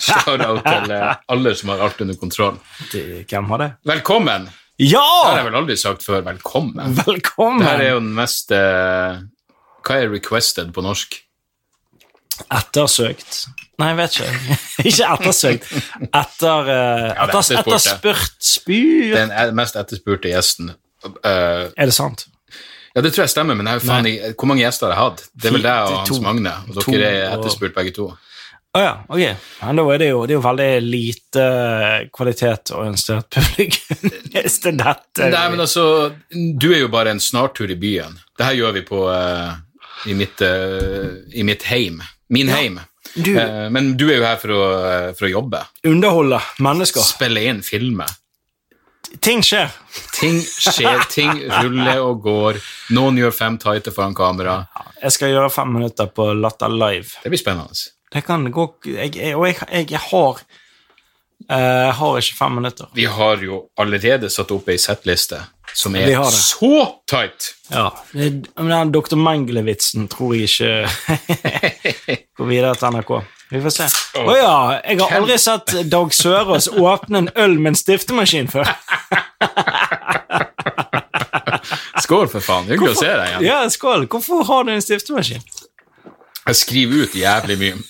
Shout-out til eh, alle som har alt under kontroll. Hvem har det? Velkommen! Det har Ja! jeg vel aldri sagt før. Velkommen. Velkommen! Det her er jo den mest eh, Hva er 'requested' på norsk? Ettersøkt. Nei, jeg vet ikke. ikke ettersøkt. Etter, eh, Ja, det er etters, etterspurt, etterspurt spyr. Den er- mest etterspurte gjesten. Eh, Er det sant? ja, det tror jeg stemmer, men jeg, har faen, ikke- hvor mange gjester har jeg hatt? Det er vel Fire- deg og Hans to. Magne, og To dere er og- etterspurt begge to. Å ja, ok. Men da er det, jo, det er jo veldig lite kvalitetsorientert publikum. Hvis det er dette Nei, men altså, du er jo bare en snartur i byen. Det her gjør vi på eh, i, mitt, eh, i mitt heim. Min heim. Du- Eh, men du er jo her for å, eh, for å jobbe. Underholde mennesker. Spille inn filmer. Ting skjer. Ting skjer, ting ruller og går. Noen gjør fem tighter foran kamera. Jeg skal gjøre fem minutter på Latter Live. Det blir spennende. Det kan gå jeg, jeg, Og jeg, jeg, jeg har eh, har ikke fem minutter. Vi har jo allerede satt opp ei settliste som er Vi har det. så tight! Ja. Det, men den Dr. Mengele-vitsen tror jeg ikke går videre til NRK. Vi får se. Å ja! Jeg har aldri sett Dag Sørås åpne en øl med en stiftemaskin før. Skål, for faen. Hyggelig å se deg igjen. Ja, skål. Hvorfor har du en stiftemaskin? Jeg skriver ut jævlig mye.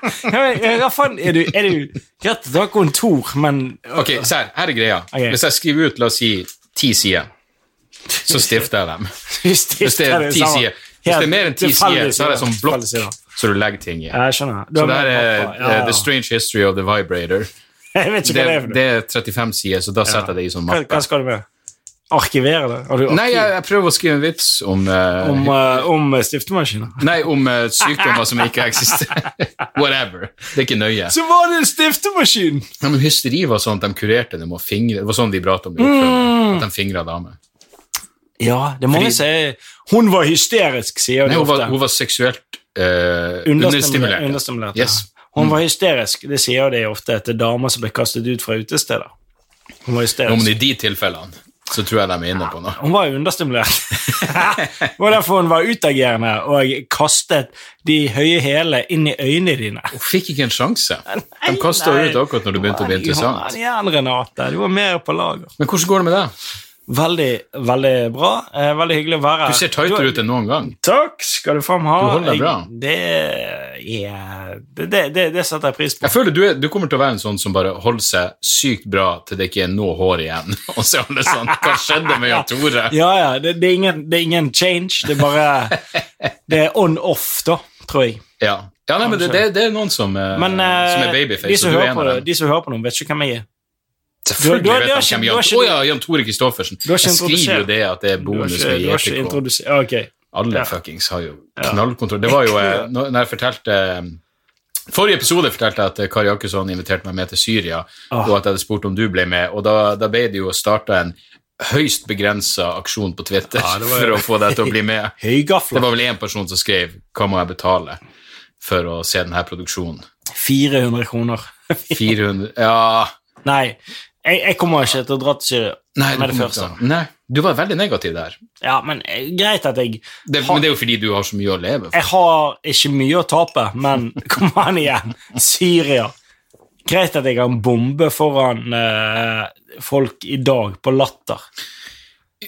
Ja, men, Hva faen er du, er du Greit, du har kontor, men Ok, se her. Her er greia. Ok. Hvis jeg skriver ut, la oss si, ti sider, så stifter jeg dem. du Hvis det stifter er ti sider. Hvis det er mer enn ti sider, så er det sånn blokk Ja, så du legger ting i. jeg skjønner. Du Så har det mer her er mapper. Ja, eh, ja. The Strange History of the Vibrator. Jeg vet ikke Det, hva det er for det noe. er 35 sider, så da setter jeg det i sånn Hva, mappe. hva skal du med? Arkivere det? Har du arkiv Nei, jeg, jeg prøver å skrive en vits om, eh, om, eh, om stiftemaskiner? Nei, om eh, sykdommer som ikke eksisterer. Whatever. Det er ikke nøye. Så var det en stiftemaskin! Ja, men hysteri var sånn at de kurerte det med å fingre. Det var sånn de pratet om det. Mm. i oppfølgingen, At de fingret damer. Ja, det er mange Fordi- som sier Hun var hysterisk, sier Nei, de hun var, ofte. hun var seksuelt eh, Understimulert. understimulert. understimulert ja. Yes. Mm. Hun var hysterisk. Det sier de ofte etter damer som ble kastet ut fra utesteder. Hun var Ja, men hysterisk. i de tilfellene så tror jeg de er inne på noe. Hun var jo understimulert. det var derfor hun var utagerende og kastet de høye hælene inn i øynene dine. Hun fikk ikke en sjanse. De kasta Nei, ut akkurat når det begynte å bli interessant. Ja, igjen, Renate. Du var mer på lager. Men hvordan går det med deg? Veldig, veldig bra. Eh, veldig hyggelig å være her. Du ser tightere ut enn noen gang. Takk skal du faen ha. Du holder deg Jeg- bra. Det, ja, det, det, det, det setter jeg pris på. Jeg føler du, er, du kommer til å være en sånn som bare holder seg sykt bra til det ikke er noe hår igjen. Og så er alle sånn Hva skjedde med Jan Tore? Ja, ja. Det, det, er ingen, det er ingen change. Det er bare Det er on-off, da, tror jeg. Ja, ja nei, men det, det, det er noen som, eh, Men eh, som er de, babyface, som og du er hører en på av det, dem. de som hører på noen, vet ikke hvem jeg er. Selvfølgelig du- du har- du vet har de ikke- hvem du har Jan ikke- Å ja, Jan Tore Kristoffersen. har ikke Jeg skriver introdusert. jo det at det er Du har bonus ikke, med E du har ikke JPK. introdusert ja, Ok. Alle Ja. fuckings har jo knallkontroll. Det var jo eh, når når jeg fortalte eh, Forrige episode fortalte jeg at eh, Kari Jakkesson inviterte meg med til Syria, Ah. og at jeg hadde spurt om du ble med, og da, da ble det jo starta en høyst begrensa aksjon på Twitter Ja, det var for jo- å få deg til å bli med. Det Høygafler. var vel én person som skrev 'Hva må jeg betale for å se denne produksjonen?' 400 kroner. 400 Ja Nei, jeg, jeg kommer ikke til å dra til Syria Nei, du, med det kommer første. ikke til å- Nei, du var veldig negativ der. Ja, men eh, greit at jeg Det, men det er jo fordi du har så mye å leve for. Jeg har ikke mye å tape, men kom an igjen. Syria. Greit at jeg har en bombe foran eh, folk i dag på Latter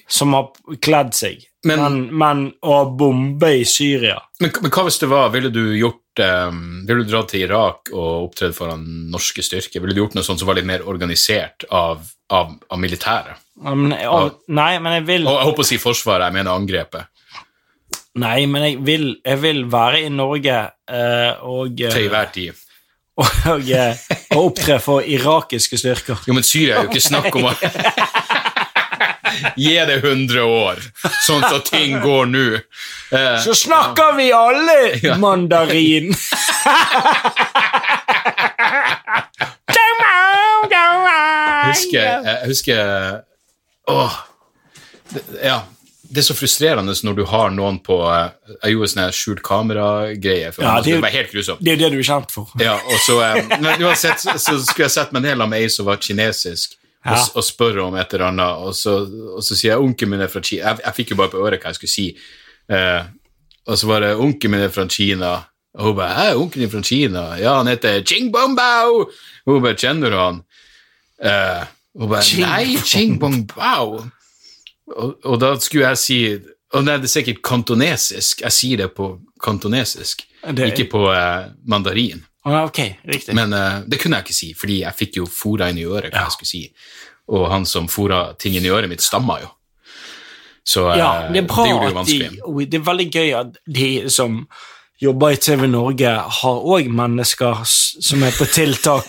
som har kledd seg, Men- men, men å bombe i Syria Men, men hva hvis det var Ville du gjort um, Ville du dratt til Irak og opptredd foran norske styrker? Ville du gjort noe sånt som var litt mer organisert av, av, av militæret? Ja, men, jeg- å, nei, men jeg vil Og jeg holdt på å si Forsvaret, jeg mener angrepet. Nei, men jeg vil, jeg vil være i Norge eh, og, eh, Til hver tid. og, eh, og opptre for irakiske styrker. Jo, men Syria er jo ikke snakk om å Gi det 100 år, sånn at ting går nå. Eh, Så snakker vi alle mandarin! Jeg husker, jeg husker Åh det, Ja. Det er så frustrerende når du har noen på eh, Jeg gjorde sånne skjult kamera-greier. for Ja, meg, så det- det var helt grusomt. Det er jo det du er kjent for. Ja, og så, eh, men uansett så så skulle jeg sett meg ned med ei som var kinesisk, og, s- og spørre om et eller annet, og så, og så sier jeg onkelen min er fra Kina. Jeg, jeg fikk jo bare på øret hva jeg skulle si. Eh, og så var det onkelen min er fra Kina. Og hun bare 'Hæ, onkelen din er fra Kina?' 'Ja, han heter Ching Bong Bao.' Hun bare 'Kjenner du han?' Eh, hun bare 'Nei, Ching Bong Bao.' Og, og da skulle jeg si og nei, det er sikkert kantonesisk. Jeg sier det på kantonesisk, Det- ikke på eh, mandarin. Ah, ok, riktig. Men eh, det kunne jeg ikke si, fordi jeg fikk jo fora inn i øret hva jeg skulle si. Og han som fora ting inn i øret mitt, stamma jo. Så eh, Ja, det er bra gjorde det jo at de, vanskelig. og det er veldig gøy at de som jobber i TV Norge, har òg mennesker s- som er på tiltak.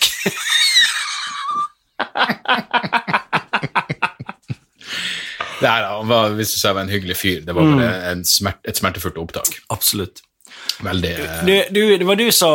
Det her, han var, viste seg å være en hyggelig fyr. Det Mm. var bare en smert, et smertefullt opptak. Absolutt. Veldig eh, Du, du, det var du som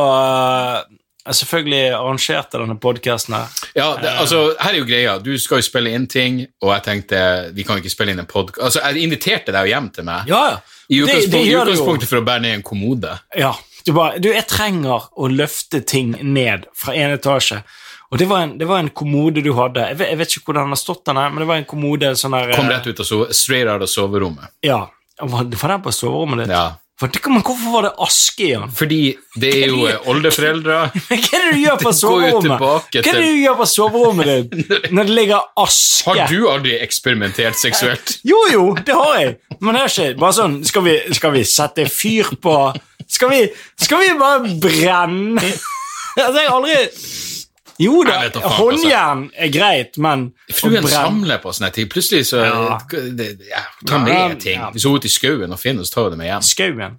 eh, selvfølgelig arrangerte denne podkasten her. Ja, det, Eh. altså, her er jo greia. Du skal jo spille inn ting, og jeg tenkte vi kan ikke spille inn en podkast Altså, jeg inviterte deg jo hjem til meg. Ja, ja. I Det- det utgangspunktet, i gjør det jo. utgangspunktet for å bære ned en kommode. Ja. Du bare Du, jeg trenger å løfte ting ned fra en etasje. Og det var en, det var en kommode du hadde. Jeg vet, jeg vet ikke hvordan den har stått, den her, men det var en kommode sånn der eh, Kom rett ut og so straight out av soverommet. Ja. Var, var den på soverommet ditt? Ja. For, det- men hvorfor var det aske i den? Fordi det er jo eh, oldeforeldre Hva er det du gjør på Det går jo soverommet? Hva tilbake er det til- du gjør på soverommet ditt når det ligger aske Har du aldri eksperimentert seksuelt? Jo, jo, det har jeg. Men det er ikke bare sånn Skal vi, skal vi sette fyr på Skal vi, skal vi bare brenne Altså, jeg har aldri Jo da, Jeg vet da faen, altså. håndjern er greit, men å Fruen brenne samler på sånne ting. Plutselig så Ja. det, ja, tar med ting. Ja. Hvis hun er ute i skauen og finner, så tar hun det med hjem. Skauen.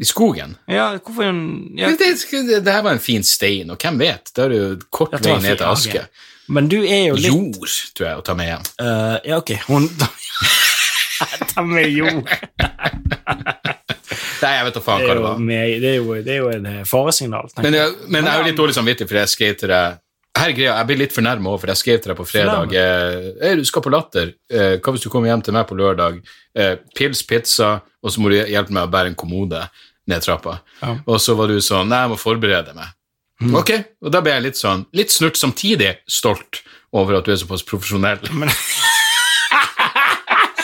I skogen. Ja, hvorfor en ja. Men Det, det, det her var en fin stein, og hvem vet? Da er det jo kort Dette vei var fint, ned til ja, aske. ok. Men du er jo litt Jord, tror jeg, å ta med hjem. Eh, Ja, ok, hun Ta med jord. Nei, jeg vet da Det faen hva er det jo, var. meg- det er jo, det er jo en eh, faresignal. tenker Men jeg. jeg, men jeg er jo litt dårlig samvittig, for jeg skrev til deg her er greia, Jeg blir litt fornærma òg, for jeg skrev til deg på fredag eh, «Hei, du skal på Latter. Eh, hva hvis du kommer hjem til meg på lørdag? Eh, pils, pizza, og så må du hjelpe meg å bære en kommode ned trappa. Ja. Og så var du sånn Nei, jeg må forberede meg. Ok, og da ble jeg litt sånn Litt snurt, samtidig stolt over at du er såpass profesjonell. Men at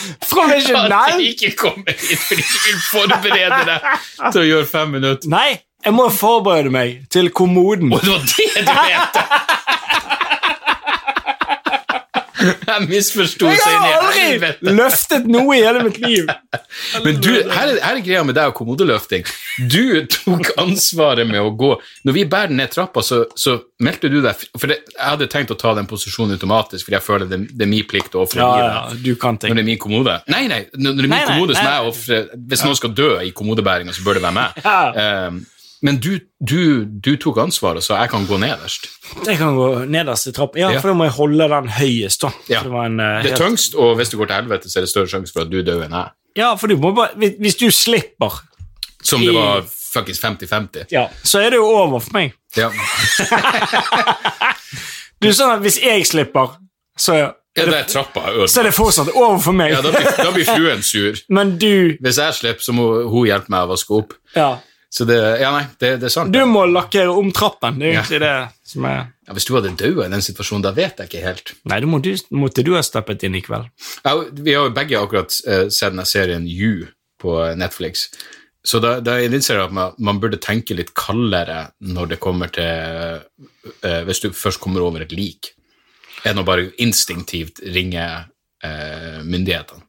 du Profesjonell? ikke kommer hit fordi du vil forberede deg til å gjøre fem minutter. Nei, jeg må forberede meg til kommoden. Og det var det du mente! Jeg misforsto Jeg seg inn i har aldri helvete. løftet noe i hele mitt liv. Men du, her er, her er greia med deg og kommodeløfting. Du tok ansvaret med å gå. Når vi bærer den ned trappa, så, så meldte du deg For det, jeg hadde tenkt å ta den posisjonen automatisk, fordi jeg føler det, det er min plikt å ofre Ja, ja, livet. du kan Når ting. det er min kommode. Nei, nei, når det er min Nei, nei, kommode som nei. jeg offrer Hvis noen skal dø i kommodebæringa, så bør det være meg. Um, men du, du, du tok ansvaret, så jeg kan gå nederst. Jeg kan gå nederst i trappen. Ja, Ja. for da må jeg holde den høyest, da. Ja. For Det var en, eh, Det er helt- tungst, og hvis det går til helvete, så er det større sjanse for at du dør enn jeg. Ja, for du må bare hvis- Hvis du slipper, Som det var fuckings 50-50. ja, så er det jo over for meg. Ja. Du er sånn at hvis jeg slipper, så, ja, det er trappa jeg så er ødelegger. det fortsatt over for meg. Ja, da blir, da blir fruen sur. Men du Hvis jeg slipper, så må hun hjelpe meg å vaske opp. Ja. Så det, ja, nei, det, det er sant. Du må lakkere om trappen. Det er Ja. egentlig det som er Ja, hvis du hadde dødd i den situasjonen, da vet jeg ikke helt. Nei, det må du, måtte du ha steppet inn i kveld. Ja, vi har jo begge akkurat eh, sett denne serien You på Netflix. Så da, da innser jeg at man, man burde tenke litt kaldere når det kommer til eh, Hvis du først kommer over et lik, enn å bare instinktivt ringe eh, myndighetene.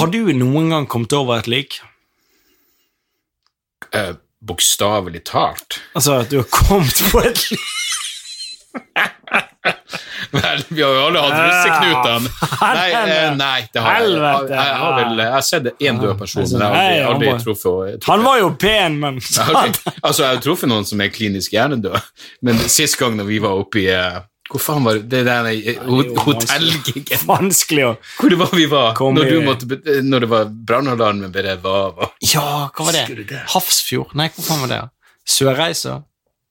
Har du noen gang kommet over et lik? Eh, bokstavelig talt. Altså, at du har kommet på et liv Vel, vi har jo alle hatt russeknutene. Nei, eh, nei, det har jeg. Jeg, Helvete. jeg har vel jeg har sett én død person, men jeg Nei, har han aldri, var- aldri truffet Han var jo pen, men Jeg har aldri- altså, jeg har truffet noen som er klinisk hjernedød, men sist gang når vi var oppe i eh, Hvor faen var det, det der eh, ho- det er jo hotellgiggen? Vanskelig å Hvor det var vi var Kom når, du i- måtte, be- når det var brannalarmen ved det var, var Ja, hva var det? Hafrsfjord? Nei, hvor faen var det? Sørreisa?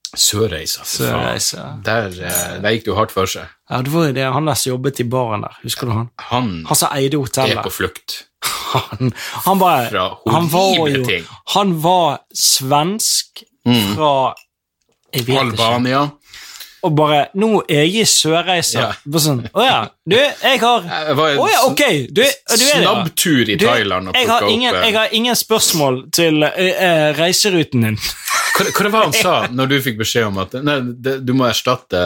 Sørreisa. for faen. Sørreisa. Der, eh, der gikk det jo hardt for seg. Ja, det var jo det. Han der som jobbet i baren der, husker du han? Han Han som eide er hotellet. på flukt. Han, han var Fra Han var horrible jo ting. Mm. Han var svensk fra jeg vet ikke. Albania. Og bare Nå er jeg i Sørreisa. Ja. Bare sånn Å ja, du, jeg har Jeg var en Å ja, sn- ok, du, du er det. ja. Snabbtur i Du, Thailand og jeg plukka har, opp ingen, eh, jeg har ingen spørsmål til eh, eh, reiseruten din. Hva, hva det var han sa når du fikk beskjed om at nei, det, du må erstatte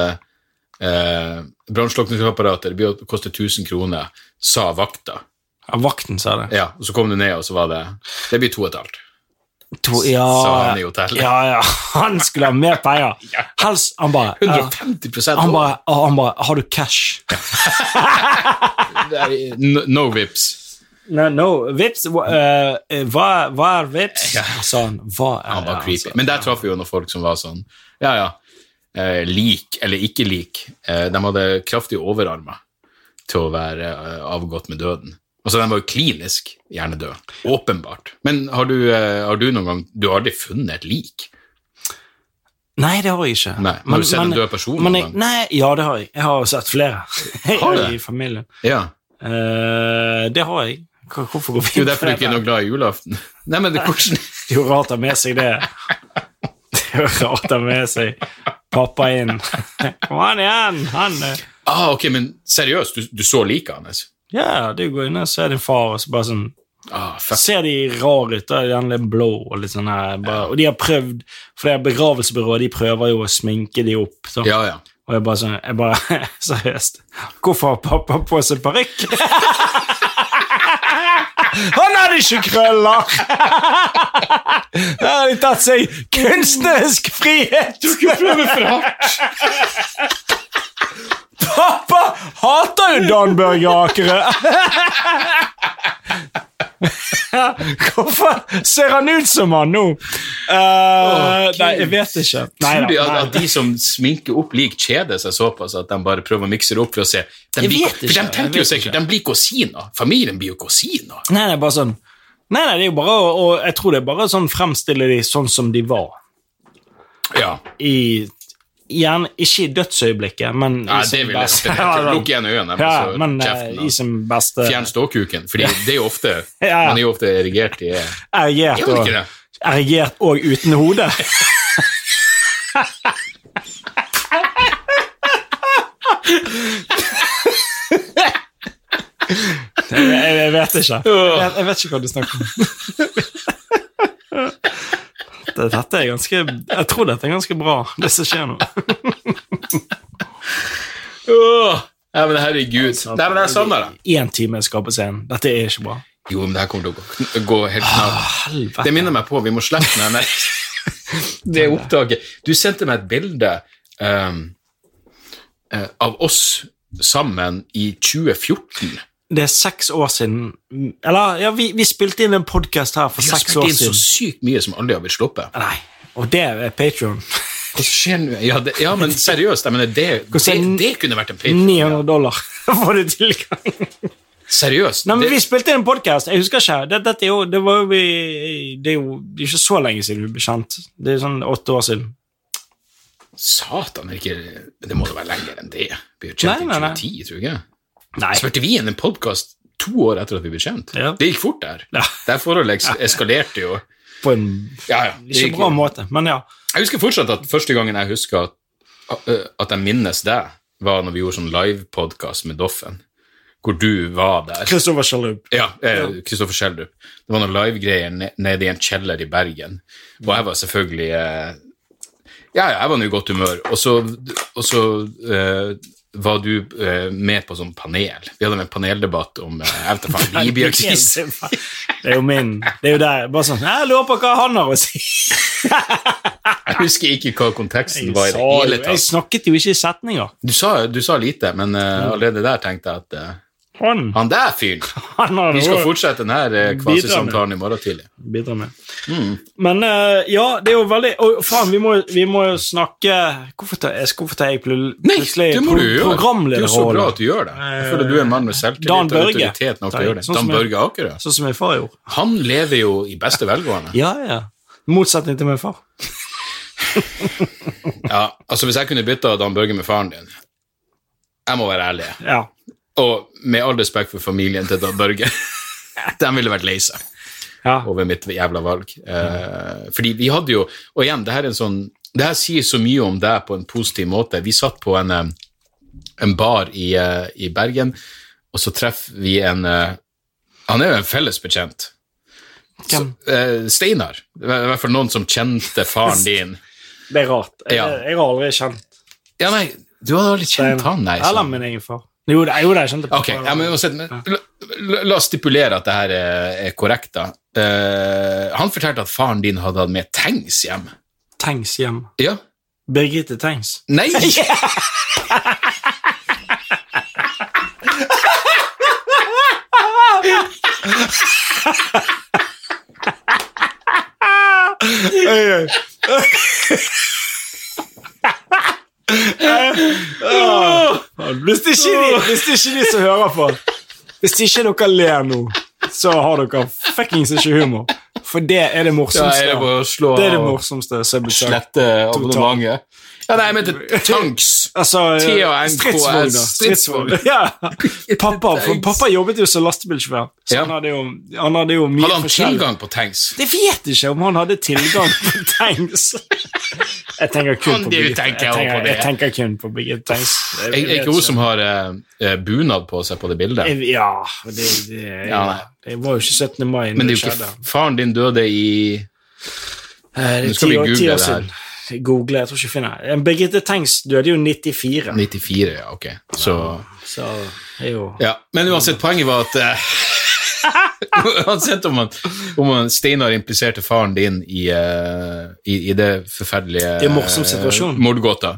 eh, brannslukningsapparatet, det blir å koste 1000 kroner, sa vakta. Ja, vakten sa det. Ja, og så kom du ned, og så var det Det blir to og et halvt. To, ja, Sa han i hotellet. Ah, Ja, ja, han skulle ha mer penger. Helst Han bare ja. 150 ja, Han bare, og han bare 'Har du cash?' no, no vips. Nei, no, vips eh, eh, hva, hva er vips? Sa Altså, han. Hva er Han ja, var creepy. altså. Men der traff vi jo noen folk som var sånn Ja, ja. Eh, lik eller ikke lik. Eh, de hadde kraftige overarmer til å være eh, avgått med døden. Altså, De var jo klinisk hjernedød. Åpenbart. Men har du, eh, har du noen gang Du har aldri funnet et lik? Nei, det har jeg ikke. Nei, har du sett en død person men noen jeg, gang? Nei, ja, det har jeg. Jeg har sett flere Har du? i familien. Ja. Eh, det har jeg. Hva- Hvorfor går vi Det er jo derfor du ikke er noe glad i julaften. Nei, men det, hvordan Det er jo rart å ha med seg det. Det er jo rart å ha med seg pappa inn. Kom an igjen! Han eh. ah, Ok, men seriøst, du, du så liket hans? Ja, du går inn og ser din far, og så bare sånn Ah, fuck. Ser de rar ut, da? Gjerne litt blå og litt sånn her. Bare, og de har prøvd, for det er begravelsesbyrået, de prøver jo å sminke de opp. Så. Ja, ja. Og jeg bare sånn jeg bare, Seriøst. Hvorfor har pappa på seg parykk? Han hadde ikke krøller! Der har de tatt seg kunstnerisk frihet! Prøve for hardt! Pappa hater jo Dan Børge Akerø! Hvorfor ser han ut som han nå? Eh, nei, jeg vet ikke. Nei, da, Tror de at, nei. at de som sminker opp lik, kjeder seg såpass at de bare prøver å mikse det opp for å se de Jeg blir, vet For ikke, de jeg tenker jo vet sikkert de blir kusiner. Familien blir jo kusiner. Nei, det er bare sånn Nei, nei, det er jo bare å, og Jeg tror det er bare sånn fremstille de sånn som de var. Ja, I Gjerne ikke i dødsøyeblikket, men i Nei, det sin vil jeg beste sånn. ikke. Lukk igjen øynene, men Ja, så men eh, kjeften, da. i sin beste Fjern ståkuken, for det er jo ofte Ja. Man er jo ofte erigert i Erigert Er man og, ikke det? erigert og uten hode. jeg, jeg, jeg vet ikke. Jeg vet, jeg vet ikke hva du snakker om. Det- Dette er ganske, jeg tror dette er ganske bra, det som skjer nå. Åh! Ja, men herregud. Nei, men jeg savner det. sånn Én time skaper scenen. Dette er ikke bra. Jo, men det her kommer til å gå, gå helt knall. helvete. Det minner meg på, vi må slette den der. Det opptaket. Du sendte meg et bilde ehm, eh, av oss sammen i 2014. Det er seks år siden Eller, ja, vi, vi spilte inn en podkast her for Vi har seks spilt år inn så siden. sykt mye som aldri har blitt sluppet. Nei, og det er Patreon. Hva skjer nå? Ja, det, ja, men seriøst, jeg mener, det, det, Hvordan- det kunne vært en Patreon. 900 dollar får du tilgang. Seriøst. Nei, men det- Vi spilte inn en podkast, jeg husker ikke. Det, dette er jo, det, var jo vi, det er jo ikke så lenge siden vi ble kjent. Det er sånn åtte år siden. Satan, er ikke, det må da være lenger enn det. Vi ble kjent Nei, nei, nei. i 2010, tror jeg. Nei. Spilte vi inn en podkast to år etter at vi ble kjent? Ja. Det gikk fort der. Ja. Det her forholdet eks- eskalerte jo. På en Ja, ja. det ikke gikk bra jo. måte, men ja. Jeg husker fortsatt at første gangen jeg husker at, eh, at jeg minnes deg, var når vi gjorde sånn livepodkast med Doffen, hvor du var der. Kristoffer Sjalup. Ja, eh, Kristoffer Schjelderup. Det var noen livegreier ne- nede i en kjeller i Bergen. Og jeg var selvfølgelig eh, Ja, ja, jeg var nå i godt humør. Og så, og så eh, var du eh, med på sånn panel. Vi hadde en paneldebatt om eh, jeg vet da faen, Nei, Libya-krisen. ikke- Det er jo min. Det er jo der. Bare sånn Jeg lurer på hva han har å si. Jeg husker ikke hva konteksten var i det Så- hele jeg tatt. snakket jo ikke i setninger. Du sa, du sa lite, men eh, Mm. allerede der tenkte jeg at eh, Han, Han der fyren! han har Vi noe skal å fortsette denne kvasisamtalen i morgen tidlig. bidra med. Mm. Men eh, ja, det er jo veldig Å, faen, vi må, vi må jo snakke Hvorfor tar, jeg- hvorfor tar jeg pl- Nei, plutselig det må du pro- gjøre! Det er jo så bra programlederrollen? at du gjør det. Jeg føler du er en mann med selvtillit Dan og Børge. autoritet nok til å gjøre det. Sånn som Dan jeg- Børge Akerø. altså. Sånn som min far gjorde. Han lever jo i beste velgående. Ja, ja. Motsetning til min far. Ja, altså Hvis jeg kunne bytta Dan Børge med faren din Jeg må være ærlig. Ja. Og med all respekt for familien til Dan Børge. De ville vært lei seg ja. over mitt jævla valg. Eh, fordi vi hadde jo Og igjen, det her er en sånn det her sier så mye om deg på en positiv måte. Vi satt på en, eh, en bar i, eh, i Bergen, og så treffer vi en eh, Han er jo en felles bekjent. Så, Hvem? eh, Steinar. Det var I hvert fall noen som kjente faren din. Det er rart. Jeg, Ja. jeg har aldri kjent Ja, nei, du hadde aldri kjent han, nei. Eller sånn. min egen far. Jo, det, jo, det, jeg kjente på Ok, ja, men, uansett, men la, la- la oss stipulere at det her er, er korrekt, da. Eh, han fortalte at faren din hadde hatt med tanks hjem. Tengs hjem. Ja. Birgitte Tengs. Nei! Hvis det ikke er de, hvis det ikke er de som hører på Hvis det ikke er dere ler nå, så har dere fuckings ikke humor. For det er det Da morsomste. er det bare å slå Det er det av og morsomste som er blitt sagt. slette eh, abonnementet. Ja, nei, jeg mente tanks. Altså, TNKS, stridsvogner. stridsvogner. Ja. Pappa, for pappa jobbet jo som lastebilsjåfør, så Ja. han, hadde jo, han hadde jo mye Hadde han forskjellig. tilgang på tanks? Jeg vet ikke om han hadde tilgang på tanks. Jeg tenker kun Kan på du Birgitte. tenke Jeg på tenker, det? jeg tenker kun på Birgitte Tengs. Er er ikke hun som har eh, eh, bunad på seg på det bildet? Ja, det, det, Ja, nei. det var jo ikke 17. mai Men når det det er jo ikke skjedde. Faren din døde i Eh, Det Nå er skal vi ti år, ti google år det her. siden. Google, jeg tror ikke jeg finner det. Eh, Birgitte Tengs døde jo 94, 94, ja, ok. Så så det er jo Ja, men uansett, poenget var at eh, Uansett om, han, om han Steinar impliserte faren din i, eh, i, i det forferdelige Det er en morsom situasjon. Mm. eh, mordgåta,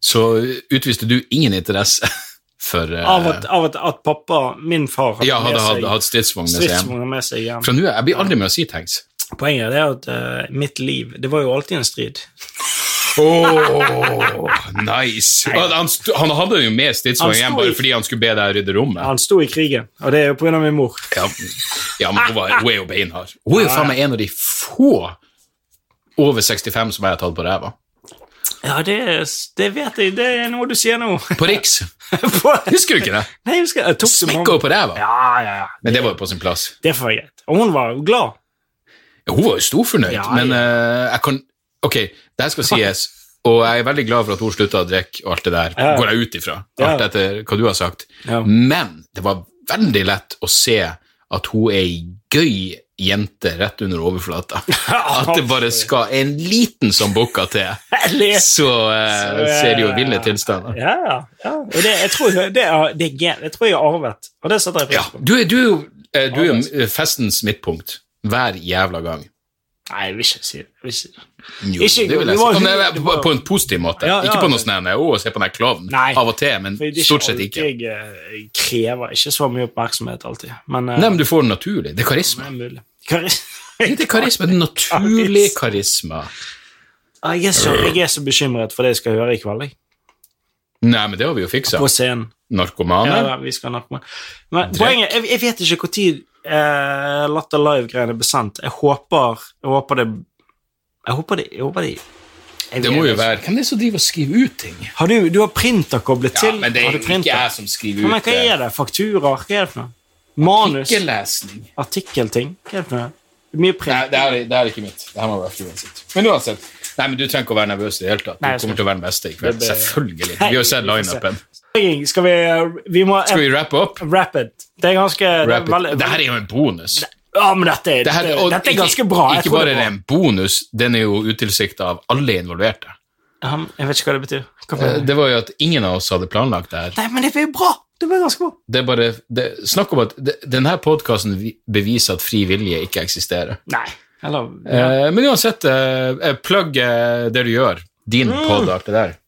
så utviste du ingen interesse for eh, Av at, av at, at pappa, min far, hadde, Ja, hadde hatt- med hatt stridsvogn med seg seg hjem. stridsvogner med seg hjem. Fra nå av Jeg blir aldri med å si tanks. Poenget er at eh, mitt liv Det var jo alltid en strid. Oh, nice! Han, han sto- han hadde jo med stridsvogn Han sto hjem i- bare fordi han skulle be deg rydde rommet. Han sto i krigen, og det er jo pga. min mor. Ja, ja men hun, var, hun er jo beinhard. Hun er jo faen meg en av de få over 65 som jeg har tatt på ræva. Ja, det, er- det vet jeg. Det er noe du sier nå. På Riks. Husker du ikke det? Nei, jeg husker jeg tok det Smekka henne på ræva. Ja, ja, ja. Men det var jo på sin plass. Det får være greit. Og hun var jo glad. Ja, Hun var jo storfornøyd, Ja, men eh, jeg kan Ok, det her skal sies, og jeg er veldig glad for at hun slutta å drikke og alt det der, Ja. går jeg ut ifra, Ja. alt etter hva du har sagt. Ja. Men det var veldig lett å se at hun er ei gøy jente rett under overflata. At det bare skal en liten som bukka til, så eh, ser det jo ville tilstander. Ja, ja. ja. Og det, jeg, tror, det er, det er gen, jeg tror jeg har arvet, og det setter jeg Ja, pris på. du, er- du er jo eh, du er jo festens midtpunkt hver jævla gang. Nei, jeg vil ikke si det. Jeg vil ikke. Jo, Ikke- det vil det jeg si. var- Ja, men jeg- på, på en positiv måte. Ja, ja, ikke på noe det- sånn her, å, se på den her klovnen Nei. av og til, men For det er stort sett alltid ikke. Jeg eh, krever ikke så mye oppmerksomhet alltid, men, eh, Nei, men du får det naturlig. Det er det karisma. er mulig. Kari- Ikke karisma, det er naturlig karisma. Ah, Jeg er, så, jeg er så bekymret for det jeg skal høre i kveld, jeg. Nei, men det har vi jo fiksa. På scenen. Ja, Narkomane. da, vi skal nappe med. Men poenget, jeg, jeg vet ikke når eh, Latter Live-greiene ble sendt. Jeg håper, jeg håper det Jeg håper det, jeg håper det jeg Det vet må jo ikke. være Hvem er det som driver og skriver ut ting? Har du, du har printer koblet Ja, til? men det har du er jo printer? ikke jeg som skriver Men ut eh, hva det. er det? Fakturaer? Hva er det for noe? Manus? Ikke-lesning. Artikkelting? Hva er det for noe? Mye Nei, print. det er, det er ikke mitt. Det her må være fruen sitt. Men uansett. Nei, men Du trenger ikke å være nervøs i det hele tatt. Nei, jeg Du skal kommer til å være den beste i kveld. Det blir- Selvfølgelig. Vi har jo sett Nei, vi får se. lineupen. Skal vi Vi må Skal vi rappe opp? Rapid. Det er ganske det er Wrap it. veldig- Det her er jo en bonus. Ja, men dette, er- Det her- dette, og dette er ikke- ganske bra. Jeg Ikke tror bare det er er det bra. en bonus, den er jo utilsikta av alle involverte. Eh, Ja, men Jeg vet ikke hva det betyr. Hva for- Det var jo at ingen av oss hadde planlagt det her. Nei, men det er jo bra! Det ble ganske bra. Det er bare, det, snakk om at det, denne podkasten beviser at fri vilje ikke eksisterer. Nei. Eller, Eh, men uansett, eh, eh, plugg eh, det du gjør. Din Mm. pod og alt det der.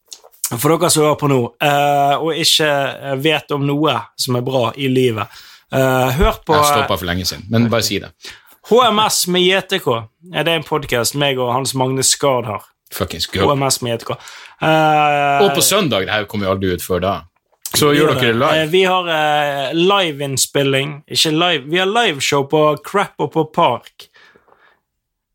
For dere som hører på nå, eh, og ikke eh, vet om noe som er bra i livet, eh, hør på Jeg stoppa for lenge siden, men bare si det. HMS med JTK. Ja, Det er en podkast meg og Hans Magne Skard har. Fuckings go. HMS med JTK. Eh, Og på søndag, det her kommer jo aldri ut før da. Så vi gjør gjør dere Eh, det live. Vi har eh, liveinnspilling. Ikke live, vi har liveshow på Crap og på Park.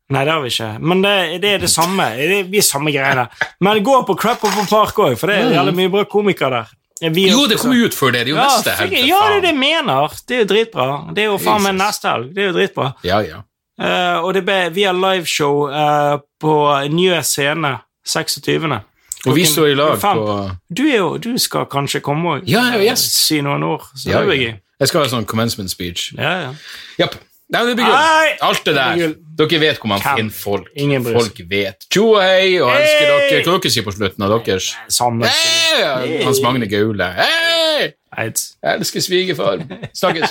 Nei, det har vi ikke, men det, det er det samme. Det er, vi er samme greiene. Men gå på Crap og på Park òg, for det er jævlig mye bra komikere der. Vi er Mm. Jo, også det sånn. kommer jo ut før det. Det er jo Ja, neste helg. fikk- for ja, det er det faen. jeg mener. Det er jo dritbra. Det er jo faen meg Jesus. neste helg. Det er jo dritbra. Ja, ja. Eh, og det ble, vi har liveshow eh, på Njø scene 26. Og vi Klokken står i lag fem. på Du, er jo, du skal kanskje komme og eh, Ja, jeg er gjest. si noen ord. Så ja, det blir ja. gøy. Jeg skal ha en sånn commencement speech. Ja, ja. Japp. Nei, det blir Nei! gull. Alt Det det blir der. gull. Dere vet hvor man Hvem? finner folk. Ingen bryr seg. Folk vet. Tjo og hei, og elsker Hei! dere. Hva dere sier på slutten av deres? Samme. Hei! Hans Magne Gaule. Hei! Eids. Jeg elsker svigerfar. Snakkes.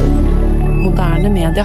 Moderne media.